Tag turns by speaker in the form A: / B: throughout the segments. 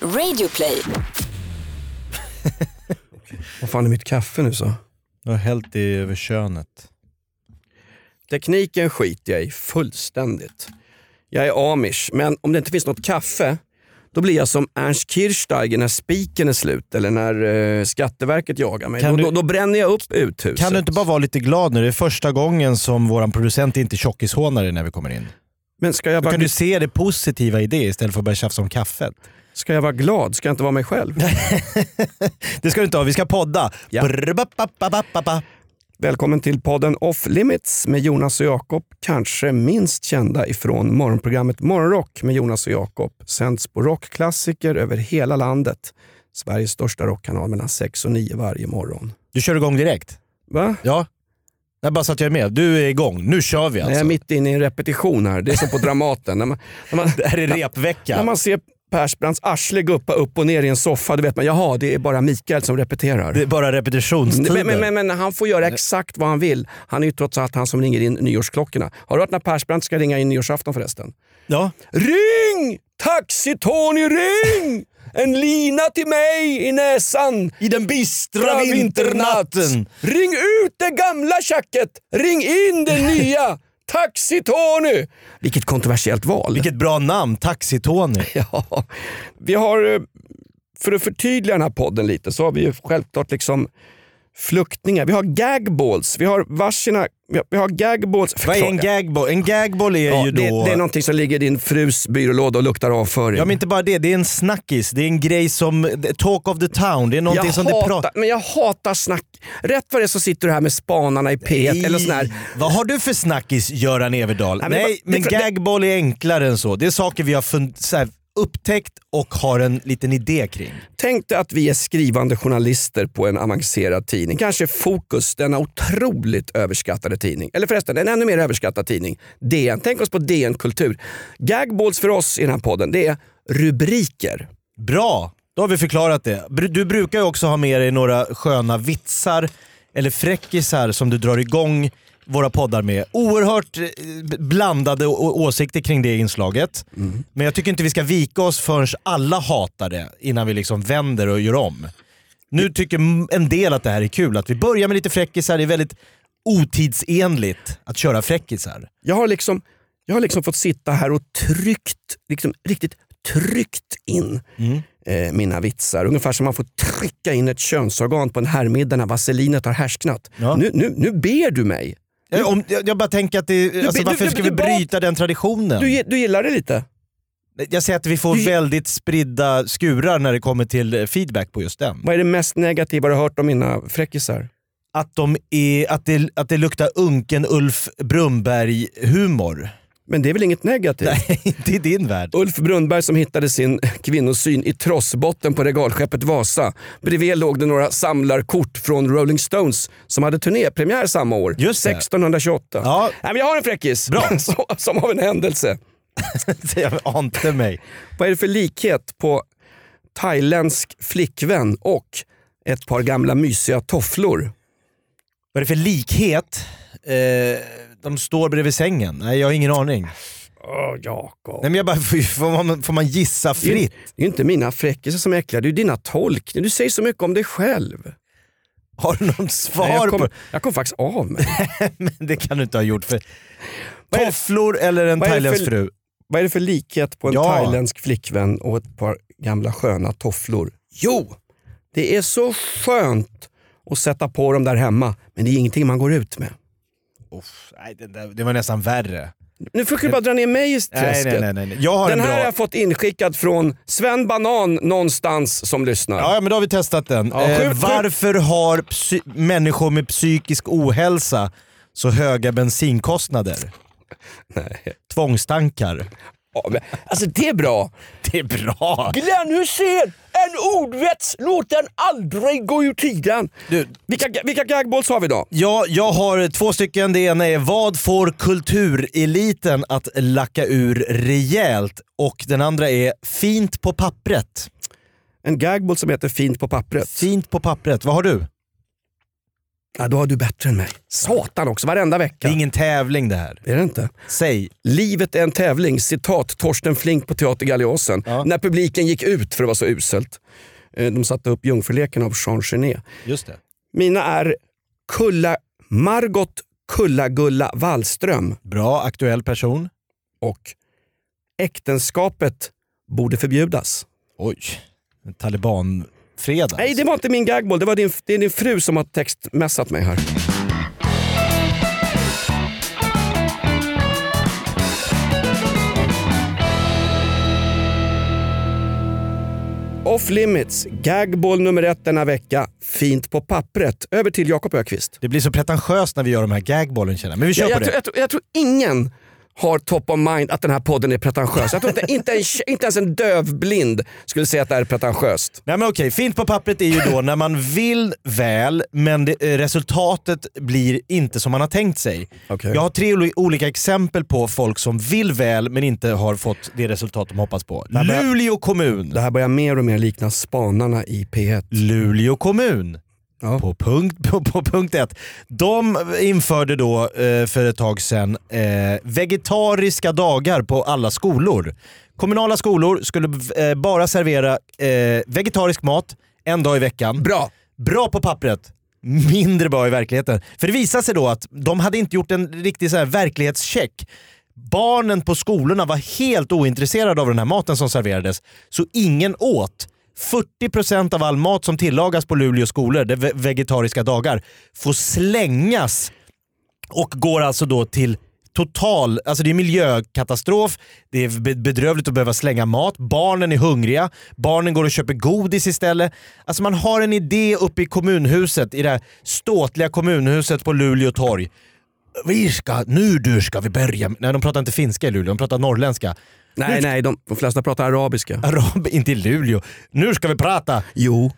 A: Radioplay.
B: Vad fan är mitt kaffe nu så?
C: Jag har hällt det över könet.
B: Tekniken skiter jag i fullständigt. Jag är amish, men om det inte finns något kaffe, då blir jag som Ernst Kirchsteiger när spiken är slut eller när eh, Skatteverket jagar mig.
C: Kan
B: Då,
C: du-
B: då, då bränner jag upp uthuset.
C: Kan du inte bara vara lite glad nu? Det är första gången som vår producent inte tjockishånar dig när vi kommer in.
B: Men ska jag,
C: Då
B: vara,
C: kan du se det positiva i det istället för att börja tjafsa om kaffet.
B: ska jag vara glad? Ska jag inte vara mig själv?
C: Det ska du inte ha, vi ska podda.
B: Ja.
C: Brr, ba, ba, ba, ba, ba, ba.
B: Välkommen till podden Off Limits med Jonas och Jakob. Kanske minst kända ifrån morgonprogrammet Morgonrock med Jonas och Jakob. Sänds på rockklassiker över hela landet. Sveriges största rockkanal mellan 6 och 9 varje morgon.
C: Du kör igång direkt?
B: Va?
C: Ja. Jag bara så att jag är med. Du är igång. Nu kör vi alltså.
B: Jag är mitt inne i en repetition här. Det är som på Dramaten. när man, när man,
C: Det här är
B: när
C: repvecka.
B: man ser Persbrandts arsle guppa upp och ner i en soffa, då vet man jaha, det är bara Mikael som repeterar.
C: Det är bara repetitionstider.
B: Men, men, men, men han får göra exakt vad han vill. Han är ju trots allt han som ringer in nyårsklockorna. Har du hört när Persbrandt ska ringa in nyårsafton förresten?
C: Ja.
B: Ring! Taxi-Tony, ring! En lina till mig i näsan.
C: I den bistra vinternatten.
B: Ring ut det gamla tjacket! Ring in det nya! Taxi-Tony! Vilket kontroversiellt val.
C: Vilket bra namn, Taxi-Tony.
B: Ja, vi har, eh, för att förtydliga den här podden lite, så har vi ju självklart liksom fluktningar. Vi har gagballs, vi har varsina, vi har, vi har gagballs.
C: Vad är en gagboll? En gagboll är
B: Ja,
C: ju
B: det,
C: då...
B: det är någonting som ligger i din frus byrålåda och luktar avföring.
C: Ja men inte bara det, det är en snackis. Det är en grej som, talk of the town. Det är någonting
B: jag
C: som det
B: hatar,
C: pratar...
B: men jag hatar snack. Rätt vad det är så sitter du här med spanarna i P1 eller sån här.
C: Vad har du för snackis Göran Everdahl?
B: Nej,
C: Nej,
B: men
C: men,
B: vad- det-
C: gagboll är enklare än så. Det är saker vi har fun- så här, upptäckt och har en liten idé kring.
B: Tänk dig att vi är skrivande journalister på en avancerad tidning. Kanske Fokus, denna otroligt överskattade tidning. Eller förresten, en ännu mer överskattad tidning. DN. Tänk oss på DN Kultur. Gagballs för oss i den här podden, det är rubriker.
C: Bra, då har vi förklarat det. Br- Du brukar ju också ha med dig några sköna vitsar eller fräckisar som du drar igång våra poddar med. Oerhört eh, b- blandade å- åsikter kring det inslaget.
B: Mm.
C: Men jag tycker inte vi ska vika oss förrän alla hatar det innan vi liksom vänder och gör om. Nu tycker m- en del att det här är kul, att vi börjar med lite fräckisar. Det är väldigt otidsenligt att köra fräckisar.
B: Jag har liksom, jag har liksom fått sitta här och tryckt, liksom, riktigt tryckt in eh, mina vitsar. Ungefär som man får trycka in ett könsorgan på en herrmiddag när vaselinet har härsknat.
C: Ja.
B: Nu, nu, nu ber du mig.
C: Jag, Eh, om, jag, jag bara tänker att det, alltså,
B: du-
C: varför
B: du-
C: ska
B: du-
C: vi bryta den traditionen?
B: Du, gi- du gillar det lite?
C: Jag säger att vi får
B: Du-
C: väldigt spridda skurar när det kommer till eh, feedback på just den.
B: Vad är det mest negativa du har hört om mina fräckisar?
C: Att, de är, att, det, att det luktar unken Ulf Brunnberg-humor.
B: Men det är väl inget negativt?
C: Nej, inte i din värld.
B: Ulf Brunnberg som hittade sin kvinnosyn i trossbotten på regalskeppet Vasa. Bredvid låg det några samlarkort från Rolling Stones som hade turnépremiär samma år,
C: Just det.
B: 1628.
C: Ja.
B: Nej, men jag har en fräckis
C: Bra.
B: som, som av en händelse.
C: Jag ante mig.
B: Vad är det för likhet på thailändsk flickvän och ett par gamla mysiga tofflor?
C: Vad är det för likhet? Eh, de står bredvid sängen. Nej, jag har ingen aning. Nej,
B: Åh, Jakob.
C: men jag bara, får, man, får man gissa fritt?
B: Det är ju inte mina fräckisar som är äckliga, det är ju dina tolkningar. Du säger så mycket om dig själv.
C: Har du någon
B: Nej,
C: svar
B: jag, kom,
C: på
B: jag kom faktiskt av mig.
C: Men det kan du inte ha gjort. För...
B: Vad är det-
C: Tofflor eller en
B: vad är det för-
C: thailändsk fru?
B: Vad är det för likhet på en
C: Ja.
B: thailändsk flickvän och ett par gamla sköna tofflor? Jo, det är så skönt att sätta på dem där hemma, men det är ingenting man går ut med.
C: Uff, nej, det, där, det var nästan värre.
B: Nu försöker du bara dra ner mig i träsket.
C: Nej, nej, nej, nej. nej. Jag har
B: Den
C: en
B: här
C: bra...
B: har jag fått inskickad från Sven Banan någonstans som lyssnar.
C: Ja, ja, men då har vi testat den.
B: Ja,
C: eh,
B: skjut, skjut.
C: varför har psy- människor med psykisk ohälsa så höga bensinkostnader?
B: Nej.
C: Tvångstankar.
B: Ja, men, alltså det är bra.
C: Det är bra!
B: Glenn Hussein, en ordvets! Låt den aldrig gå ur tiden!
C: Du,
B: Vilka, vilka gagballs har vi då?
C: ja, jag har två stycken. Det ena är vad får kultureliten att lacka ur rejält? Och den andra är fint på pappret.
B: En gagball som heter Fint på pappret.
C: Fint på pappret. Vad har du?
B: Ja, då har du bättre än mig. Satan också, varenda
C: Det
B: vecka.
C: är ingen tävling det här.
B: Är det inte?
C: Säg.
B: Livet är en tävling, citat Torsten Flink på Teater Galliosen. När publiken gick ut för att vara så uselt. Eh, De satte upp Jungfruleken av Jean Genet.
C: Just det.
B: Mina är Kulla, Margot Kulla-Gulla Wallström
C: Bra, aktuell person.
B: och Äktenskapet borde förbjudas.
C: Oj. En Taliban-fredag.
B: Nej, det var inte min gagball. Det var din, det är din fru som har textmässat mig här. Off limits, gagball nummer ett denna vecka. Fint på pappret. Över till Jakob Ökvist.
C: Det blir så pretentiöst när vi gör de här gagbollen känner jag. Men vi kör
B: Jag, jag,
C: på det.
B: tror, jag, tror, jag tror ingen har top of mind att den här podden är pretentiös. Jag tror inte, inte, en, inte ens en dövblind skulle säga att det här är pretentiöst.
C: Nej men okej, fint på pappret är ju då när man vill väl men det, eh, resultatet blir inte som man har tänkt sig.
B: Okej.
C: Jag har tre oli- olika exempel på folk som vill väl men inte har fått det resultat de hoppas på.
B: här börjar-
C: Luleå kommun.
B: Det här börjar mer och mer likna spanarna i P1.
C: Luleå kommun.
B: Ja.
C: På, punkt, på, på punkt ett. De införde då eh, för ett tag sedan eh, vegetariska dagar på alla skolor. Kommunala skolor skulle eh, bara servera eh, vegetarisk mat en dag i veckan.
B: Bra!
C: Bra på pappret, mindre bra i verkligheten. För det visade sig då att de hade inte gjort en riktig så här verklighetscheck. Barnen på skolorna var helt ointresserade av den här maten som serverades, så ingen åt. 40% av all mat som tillagas på Luleå skolor, det är ve- vegetariska dagar, får slängas och går alltså då till total, alltså det är miljökatastrof, det är be- bedrövligt att behöva slänga mat, barnen är hungriga, barnen går och köper godis istället. Alltså man har en idé uppe i kommunhuset, i det här ståtliga kommunhuset på Luleå torg. Vi ska, nu du ska vi börja med- Nej de pratar inte finska i Luleå, de pratar norrländska.
B: Nej, nej, de, de flesta pratar arabiska.
C: Arab, inte i Luleå. Nu ska vi prata,
B: Jo.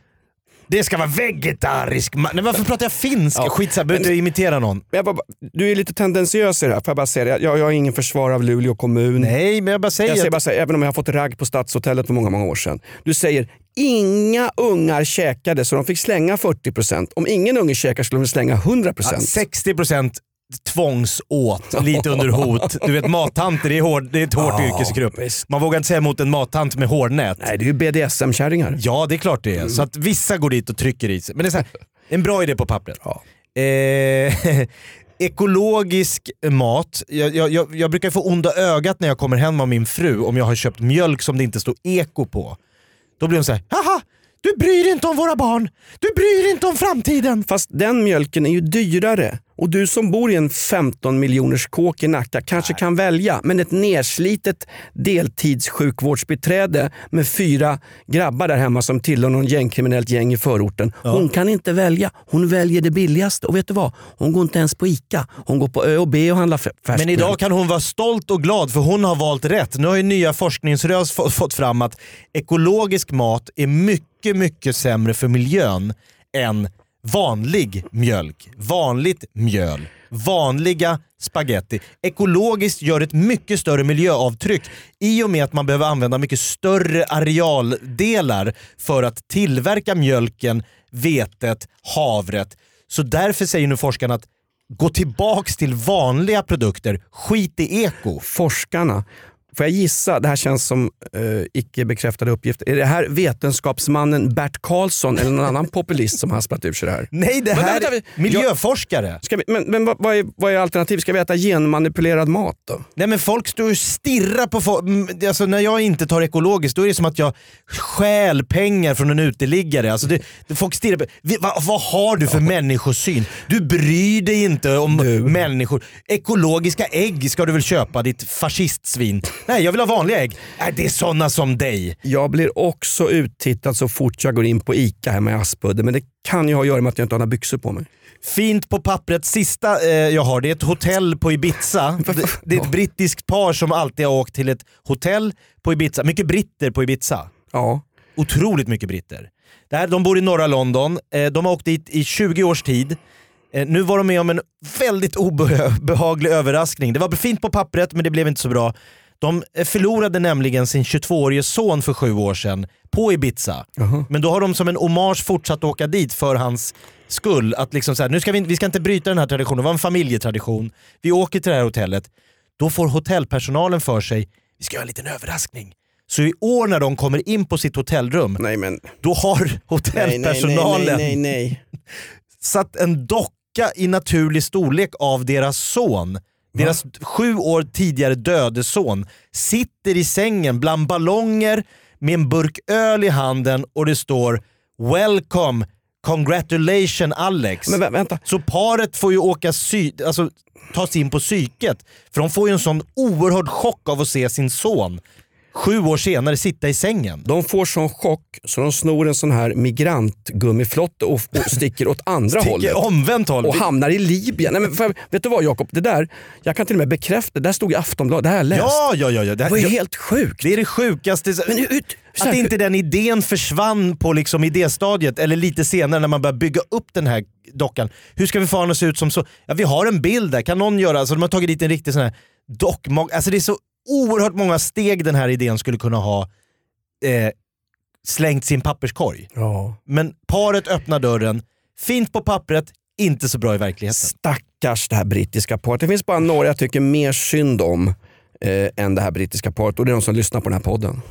C: det ska vara vegetarisk ma- Nej varför pratar jag finska?
B: Ja.
C: Skitsamma, behöver inte imitera någon.
B: Men jag bara, du är lite tendensiös i det här, får jag bara säga det? Jag, jag har ingen försvar av Luleå kommun.
C: Nej men jag bara säger,
B: Jag säger
C: att-
B: bara så här, även om jag har fått ragg på Stadshotellet för många, många år sedan. Du säger inga ungar käkade så de fick slänga 40%. Om ingen unge käkar skulle de slänga 100%.
C: Ja, 60% tvångsåt, lite under hot. Du vet mattanter, det är, hård, det är ett hårt
B: Ja,
C: yrkesgrupp.
B: visst.
C: Man vågar inte säga emot en mattant med hårnät.
B: Nej, det är ju BDSM-kärringar.
C: Ja, det är klart det är. Så att vissa går dit och trycker i sig. Men det är så här, en bra idé på pappret.
B: Ja.
C: Eh, ekologisk mat. Jag, jag, jag, jag brukar få onda ögat när jag kommer hem av min fru om jag har köpt mjölk som det inte står eko på. Då blir hon så här, haha! Du bryr dig inte om våra barn! Du bryr dig inte om framtiden!
B: Fast den mjölken är ju dyrare. Och du som bor i en 15 miljoners kåk i Nacka kanske kan välja. Men ett nerslitet deltidssjukvårdsbiträde med fyra grabbar där hemma som tillhör någon gängkriminellt gäng i förorten. Hon kan inte välja. Hon väljer det billigaste. Och vet du vad? Hon går inte ens på ICA. Hon går på Ö och B och handlar fä- färskt
C: Men idag kan hon vara stolt och glad för hon har valt rätt. Nu har ju nya forskningsrön få- fått fram att ekologisk mat är mycket, mycket sämre för miljön än vanlig mjölk, vanligt mjöl, vanliga spaghetti. Ekologiskt gör ett mycket större miljöavtryck i och med att man behöver använda mycket större arealdelar för att tillverka mjölken, vetet, havret. Så därför säger nu forskarna att gå tillbaks till vanliga produkter, skit i eko.
B: forskarna. Får jag gissa, det här känns som eh, icke bekräftade uppgifter. Är det här vetenskapsmannen Bert Karlsson eller någon annan populist som har splat ur sig det här?
C: Nej, det
B: Vänta,
C: här
B: vänta,
C: är
B: vi-
C: miljöforskare.
B: Ska vi, men men vad, vad, är, vad är alternativet? Ska vi äta genmanipulerad mat då?
C: Nej men folk står och stirrar på folk. Alltså, när jag inte tar ekologiskt då är det som att jag stjäl pengar från en uteliggare. Alltså, det, det, folk stirrar på... Vi, vad, vad har du för människosyn? Du bryr dig inte om människor. Ekologiska ägg ska du väl köpa ditt fascistsvin? Nej jag vill ha vanliga ägg. Nej, det är såna som dig.
B: Jag blir också uttittad så fort jag går in på ICA hemma i Aspudde, men det kan ju ha att göra med att jag inte har några byxor på mig.
C: Fint på pappret. Sista eh, jag har, det är ett hotell på Ibiza. Det, det är ett brittiskt par som alltid har åkt till ett hotell på Ibiza. Mycket britter på Ibiza.
B: Ja.
C: Otroligt mycket britter. Det här, de bor i norra London. Eh, de har åkt dit i 20 års tid. Eh, nu var de med om en väldigt obehaglig överraskning. Det var fint på pappret men det blev inte så bra. De eh, förlorade nämligen sin 22-årige son för sju år sedan på Ibiza. Men då har de som en hommage fortsatt åka dit för hans skull, att liksom så här, nu ska vi, in- vi ska inte bryta den här traditionen, det var en familjetradition. Vi åker till det här hotellet, då får hotellpersonalen för sig, vi ska göra en liten överraskning. Så i år när de kommer in på sitt hotellrum,
B: Nej men.
C: då har
B: Nej, nej, nej,
C: hotellpersonalen
B: nej, nej, nej.
C: satt en docka i naturlig storlek av deras son. Deras sju år tidigare döde son sitter i sängen bland ballonger med en burk öl i handen och det står “Welcome, congratulations Alex”.
B: Men vä- vänta.
C: Så paret får ju åka sy- alltså, tas in på psyket. För de får ju en sån oerhörd chock av att se sin son sju år senare sitta i sängen.
B: De får sån chock så de snor en sån här migrantgummiflott och, och sticker åt andra hållet.
C: Sticker omvänt håll.
B: och hamnar i Libyen. Nej, men för, vet du vad Jakob, det där, jag kan till och med bekräfta, det där stod i Aftonbladet, det här har jag läst.
C: Ja, ja, ja. ja. Det,
B: det
C: här,
B: var ju
C: jag,
B: helt sjukt.
C: det är det sjukaste.
B: Men hur- hur- så här,
C: Att inte den idén försvann på liksom idéstadiet eller lite senare när man börjar bygga upp den här dockan. Hur ska vi få den att se ut som så? Ja, vi har en bild där, kan någon göra? Alltså, de har tagit dit en riktig sån här dockmag. Alltså det är så oerhört många steg den här idén skulle kunna ha eh, slängt sin papperskorg.
B: Ja.
C: Men paret öppnar dörren, fint på pappret, inte så bra i verkligheten.
B: Stackars det här brittiska paret. Det finns bara några jag tycker mer synd om eh, än det här brittiska paret och det är de som lyssnar på den här podden.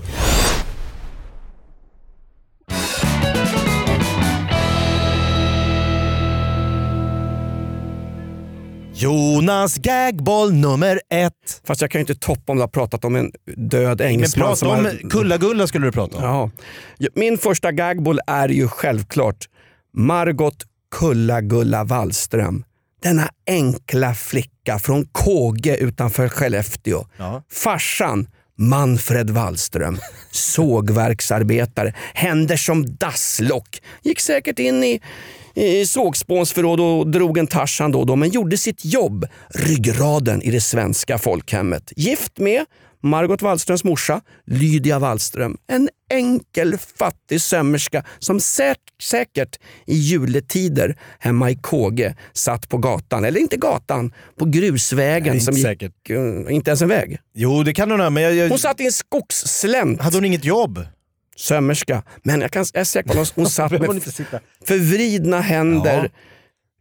C: Jonas gagboll nummer ett.
B: Fast jag kan ju inte toppa om du har pratat om en död
C: Men
B: engelsman.
C: prata
B: som
C: om
B: har-
C: Kulla-Gulla skulle du prata om.
B: Ja. Min första gagball är ju självklart Margot Kulla-Gulla Wallström. Denna enkla flicka från KG utanför Skellefteå.
C: Ja.
B: Farsan Manfred Wallström, sågverksarbetare, händer som dasslock. Gick säkert in i, i sågspånsförråd och drog en tarsan då och då, men gjorde sitt jobb, ryggraden i det svenska folkhemmet. Gift med Margot Wallströms morsa, Lydia Wallström. En enkel fattig sömmerska som sä- säkert i juletider hemma i KG satt på gatan, eller inte gatan, på grusvägen.
C: Nej,
B: som
C: inte
B: gick,
C: säkert.
B: eh, inte ens en väg.
C: Jo, det kan hon ha, men jag, jag...
B: Hon satt i en skogsslänt,
C: Hade hon inget jobb?
B: sömmerska. Men jag, kan, jag är säker på att hon satt
C: Behöver hon
B: med
C: inte sitta?
B: förvridna händer,
C: Ja.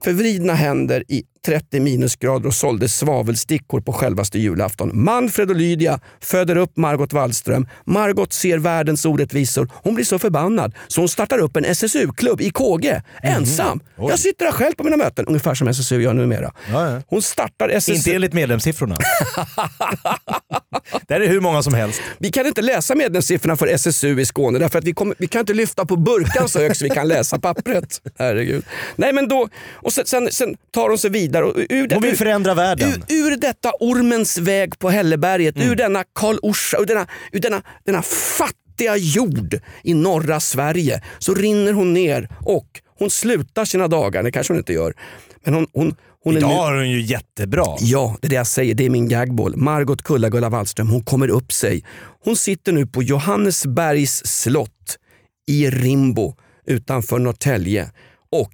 B: förvridna händer i 30 minusgrader och sålde svavelstickor på självaste julafton. Manfred och Lydia föder upp Margot Wallström. Margot ser världens orättvisor. Hon blir så förbannad så hon startar upp en SSU-klubb i KG, ensam.
C: Mhm. Oj.
B: Jag sitter där själv på mina möten, ungefär som SSU gör numera.
C: Ja, ja.
B: Hon startar SSU.
C: Inte enligt medlemssiffrorna. det här är hur många som helst.
B: Vi kan inte läsa medlemssiffrorna för SSU i Skåne därför att vi, kommer, vi kan inte lyfta på burkan så högt så vi kan läsa pappret. Herregud. Nej, men då, och sen, sen, sen tar hon sig vidare. Och ur,
C: Hon vill
B: ur,
C: förändra världen. Mm.
B: ur, ur detta ormens väg på Hälleberget, ur denna Karl Orsa, ur denna, ur denna, denna fattiga jord i norra Sverige så rinner hon ner och hon slutar sina dagar, det kanske hon inte gör. Men hon, hon, hon är nu-
C: Idag är hon ju jättebra.
B: Ja, det är det jag säger. Det är min gagball. Margot Kulla-Gulla Wallström, hon kommer upp sig. Hon sitter nu på Johannesbergs slott i Rimbo utanför Norrtälje och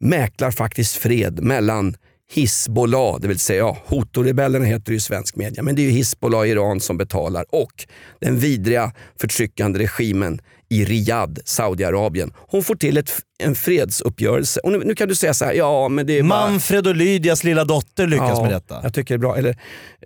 B: mäklar faktiskt fred mellan Hizbollah, det vill säga ja, Huthi-rebellerna heter det ju i svensk media, men det är ju Hizbollah i Iran som betalar och den vidriga förtryckande regimen i Riyadh, Saudiarabien. Hon får till ett, en fredsuppgörelse. Och nu, nu kan du säga så här, ja men det är bara...
C: Manfred och Lydias lilla dotter lyckas
B: Ja,
C: med detta.
B: Jag tycker det är bra. Eller,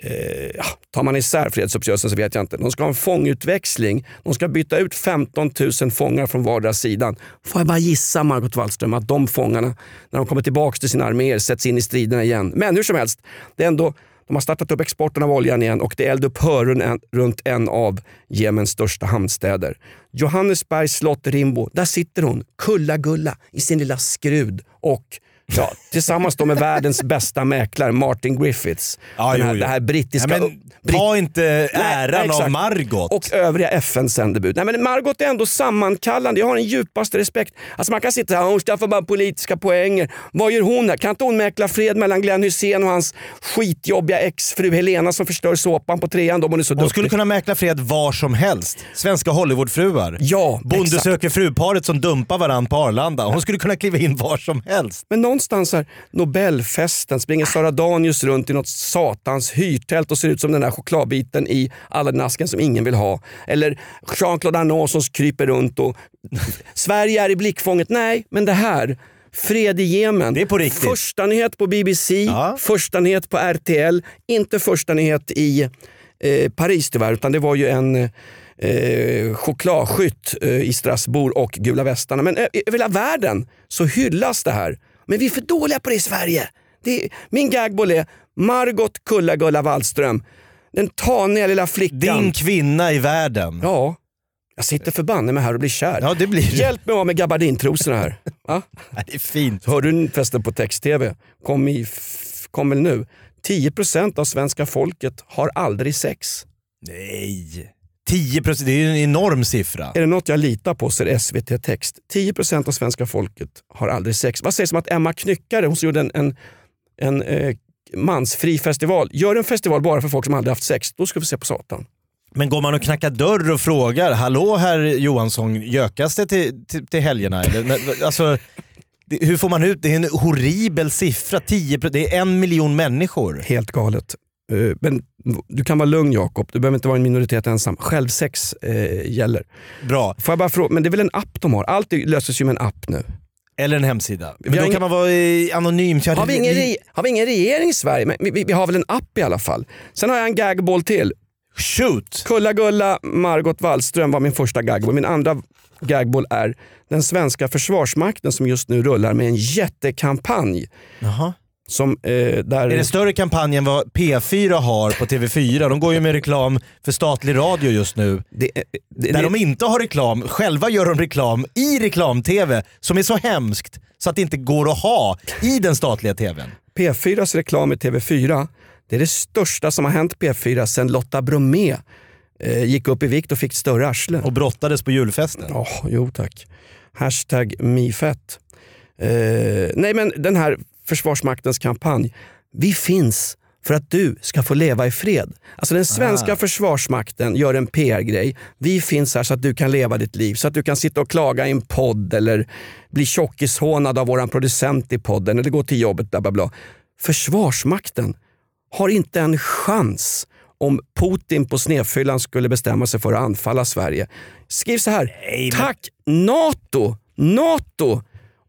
B: eh, ja, tar man isär fredsuppgörelsen så vet jag inte. De ska ha en fångutväxling. De ska byta ut 15 000 fångar från vardera sidan. Får jag bara gissa, Margot Wallström, att de fångarna, när de kommer tillbaka till sina arméer, sätts in i striderna igen. Men hur som helst, det är ändå de har startat upp exporten av oljan igen och det är eldupphör run- runt en av Jemens största hamnstäder. Johannesbergs slott Rimbo, där sitter hon, Kulla-Gulla, i sin lilla skrud och ja, tillsammans då med världens bästa mäklare Martin Griffiths.
C: Ja,
B: Den här,
C: jo, jo.
B: Det här
C: Ja,
B: brittiska...
C: men,
B: britt-
C: ta inte äran
B: exakt.
C: av Margot.
B: och övriga FNs sändebud. Nej, men Margot är ändå sammankallande. Jag har den djupaste respekt. Alltså man kan sitta här, hon skaffar bara politiska poänger. Vad gör hon här? Kan inte hon mäkla fred mellan Glenn Hussein och hans skitjobbiga exfru Helena som förstör såpan på trean då, om hon är så
C: hon
B: duktig?
C: skulle kunna mäkla fred var som helst. Svenska Hollywoodfruar.
B: Ja,
C: Bonde
B: exakt.
C: söker fru-paret som dumpar varandra på Arlanda. Hon skulle kunna kliva in var som helst.
B: Men någonstans här, Nobelfesten, springer Sara Danius runt i något satans hyrtält och ser ut som den där chokladbiten i Aladdin-asken som ingen vill ha. Eller Jean-Claude Arnault som kryper runt och Sverige är i blickfånget. Nej, men det här Fred i Jemen.
C: Det är på riktigt.
B: Första nyhet på BBC,
C: Ja.
B: första nyhet på RTL. Inte första nyhet i eh, Paris tyvärr, utan det var ju en eh, chokladskytt eh, i Strasbourg och Gula västarna. Men eh, över hela världen så hyllas det här. Men vi är för dåliga på det i Sverige. Det är, min gagboll är Margot Kulla-Gulla Wallström. Den taniga lilla flickan.
C: Din kvinna i världen.
B: Ja, jag sitter förbanne mig här och blir kär.
C: Ja, det blir det.
B: Hjälp mig av med gabardintrosorna här. Va?
C: Det är fint.
B: Hör du förresten på text-tv? Kom, i, f- kom väl nu. 10% av svenska folket har aldrig sex.
C: Nej. 10 procent, det är ju en enorm siffra.
B: Är det något jag litar på så är det SVT Text. 10% av svenska folket har aldrig sex. Vad sägs om att Emma Knyckare, hon som gjorde en, en, en eh, mansfri festival. Gör en festival bara för folk som aldrig haft sex, då ska vi se på satan.
C: Men går man och knackar dörr och frågar, hallå herr Johansson, gökas det till, till, till helgerna? Eller, när- alltså, det, hur får man ut, det är en horribel siffra, 10, pro- det är en miljon människor.
B: Helt galet. Eh, Men du kan vara lugn Jakob, du behöver inte vara en minoritet ensam. Självsex eh, gäller.
C: Bra,
B: Får jag bara fråga, men det är väl en app de har? Allt löses ju med en app nu.
C: eller en hemsida. Men
B: Vi
C: då
B: har
C: kan
B: ing-
C: man vara eh, anonym.
B: Har vi ingen, re- har vi ingen regering i Sverige? Men vi, vi, vi har väl en app i alla fall. Sen har jag en gagboll till.
C: Shoot!
B: Kulla-Gulla Margot Wallström var min första gagboll. Min andra gagboll är den svenska försvarsmakten som just nu rullar med en jättekampanj.
C: Jaha.
B: Som, eh, där...
C: Är det en större kampanj än vad P4 har på TV4? De går ju med reklam för statlig radio just nu.
B: det, eh, det, det,
C: Där de inte har reklam, själva gör de reklam i reklam-tv som är så hemskt så att det inte går att ha i den statliga tvn.
B: P4s reklam i TV4, det är det största som har hänt P4 sedan Lotta Bromé eh, gick upp i vikt och fick större arsle.
C: Och brottades på julfesten.
B: Ja, jo tack. Hashtag mifett. Eh, nej men den här Försvarsmaktens kampanj. Vi finns för att du ska få leva i fred. Alltså den svenska försvarsmakten gör en PR-grej. Vi finns här så att du kan leva ditt liv. Så att du kan sitta och klaga i en podd eller bli tjockishånad av våran producent i podden eller gå till jobbet. Bla bla bla. Försvarsmakten har inte en chans om Putin på snedfyllan skulle bestämma sig för att anfalla Sverige. Skriv så här. Tack NATO! NATO!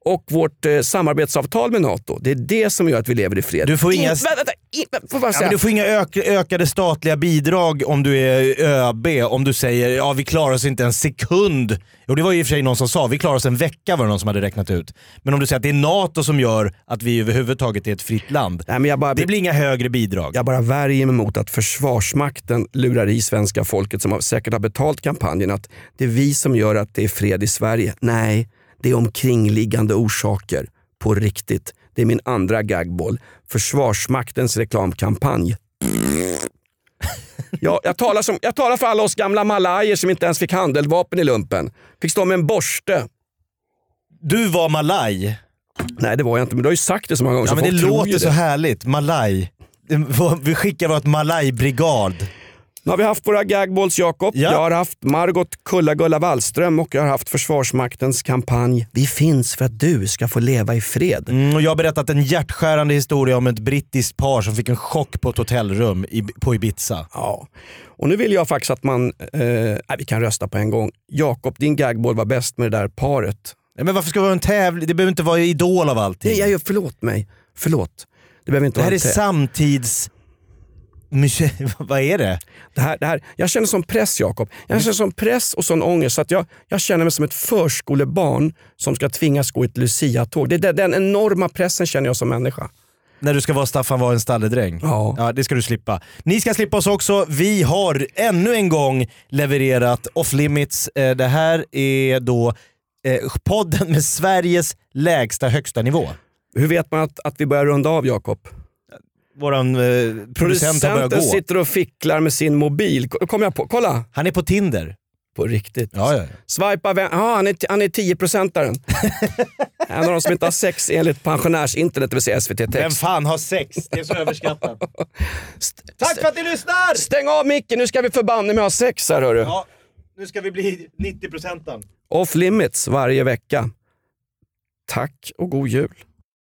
B: och vårt eh, samarbetsavtal med NATO. Det är det som gör att vi lever i fred.
C: Du får inga-
B: In, vänta, vänta, in, vänta, får jag bara
C: Ja, men
B: säga.
C: du får inga ök- ökade statliga bidrag om du är ÖB, om du säger ja vi klarar oss inte en sekund. Jo det var ju i och för sig någon som sa, vi klarar oss en vecka var det någon som hade räknat ut. Men om du säger att det är NATO som gör att vi överhuvudtaget är ett fritt land.
B: Nej, men jag, bara,
C: Det blir inga högre bidrag.
B: jag bara värjer mig mot att Försvarsmakten lurar i svenska folket som har, säkert har betalt kampanjen att det är vi som gör att det är fred i Sverige. Nej, det är omkringliggande orsaker. På riktigt. Det är min andra gagboll. Försvarsmaktens reklamkampanj. Ja, jag, talar som, jag talar för alla oss gamla malajer som inte ens fick handeldvapen i lumpen. Fick stå med en borste.
C: Du var malaj.
B: Nej det var jag inte, men du har ju sagt det så många gånger
C: Ja,
B: så
C: men det
B: folk tror ju
C: låter så härligt. Malaj. Vi skickar vårt malajbrigad.
B: Nu har vi haft våra gagballs Jakob.
C: Ja.
B: Jag har haft Margot Kulla-Gulla Wallström och jag har haft Försvarsmaktens kampanj Vi finns för att du ska få leva i fred.
C: Mm, och jag har berättat en hjärtskärande historia om ett brittiskt par som fick en chock på ett hotellrum i, på Ibiza.
B: Ja. Och nu vill jag faktiskt att man, eh, nej, vi kan rösta på en gång. Jakob, din gagball var bäst med det där paret.
C: Nej, men varför ska vi ha en tävling? Det behöver inte vara idol av allting.
B: Nej, jag, gör- förlåt mig. Förlåt. Det behöver inte
C: det här
B: vara
C: är
B: en te-
C: samtids... Muse- Vad är det?
B: det här, det här. Jag känner som press Jakob. Jag känner som press och sån ångest så att jag, jag känner mig som ett förskolebarn som ska tvingas gå i ett Lucia-tåg. Det är den, den enorma pressen känner jag som människa.
C: När du ska vara Staffan var en stalledräng.
B: Ja.
C: ja, det ska du slippa. Ni ska slippa oss också. Vi har ännu en gång levererat off limits. Eh, Det här är då eh, podden med Sveriges lägsta högsta nivå.
B: Hur vet man att, att vi börjar runda av Jakob?
C: Våran eh, producent har börjat
B: Producenten
C: gå.
B: sitter och ficklar med sin mobil. Ko- Kom jag på, kolla!
C: Han är på Tinder.
B: På riktigt.
C: Ja, ja.
B: Swipa vän... Ah, han är, t- han är 10-procentaren. en av de som inte har sex enligt pensionärsinternet, det vill säga SVT
C: Vem
B: Text.
C: fan har sex? Det är så överskattat. Tack för att ni lyssnar!
B: Stäng av micken, nu ska vi förbanne mig ha sex här hörru.
C: Ja, nu ska vi bli 90 procenten.
B: Off limits varje vecka. Tack och god jul.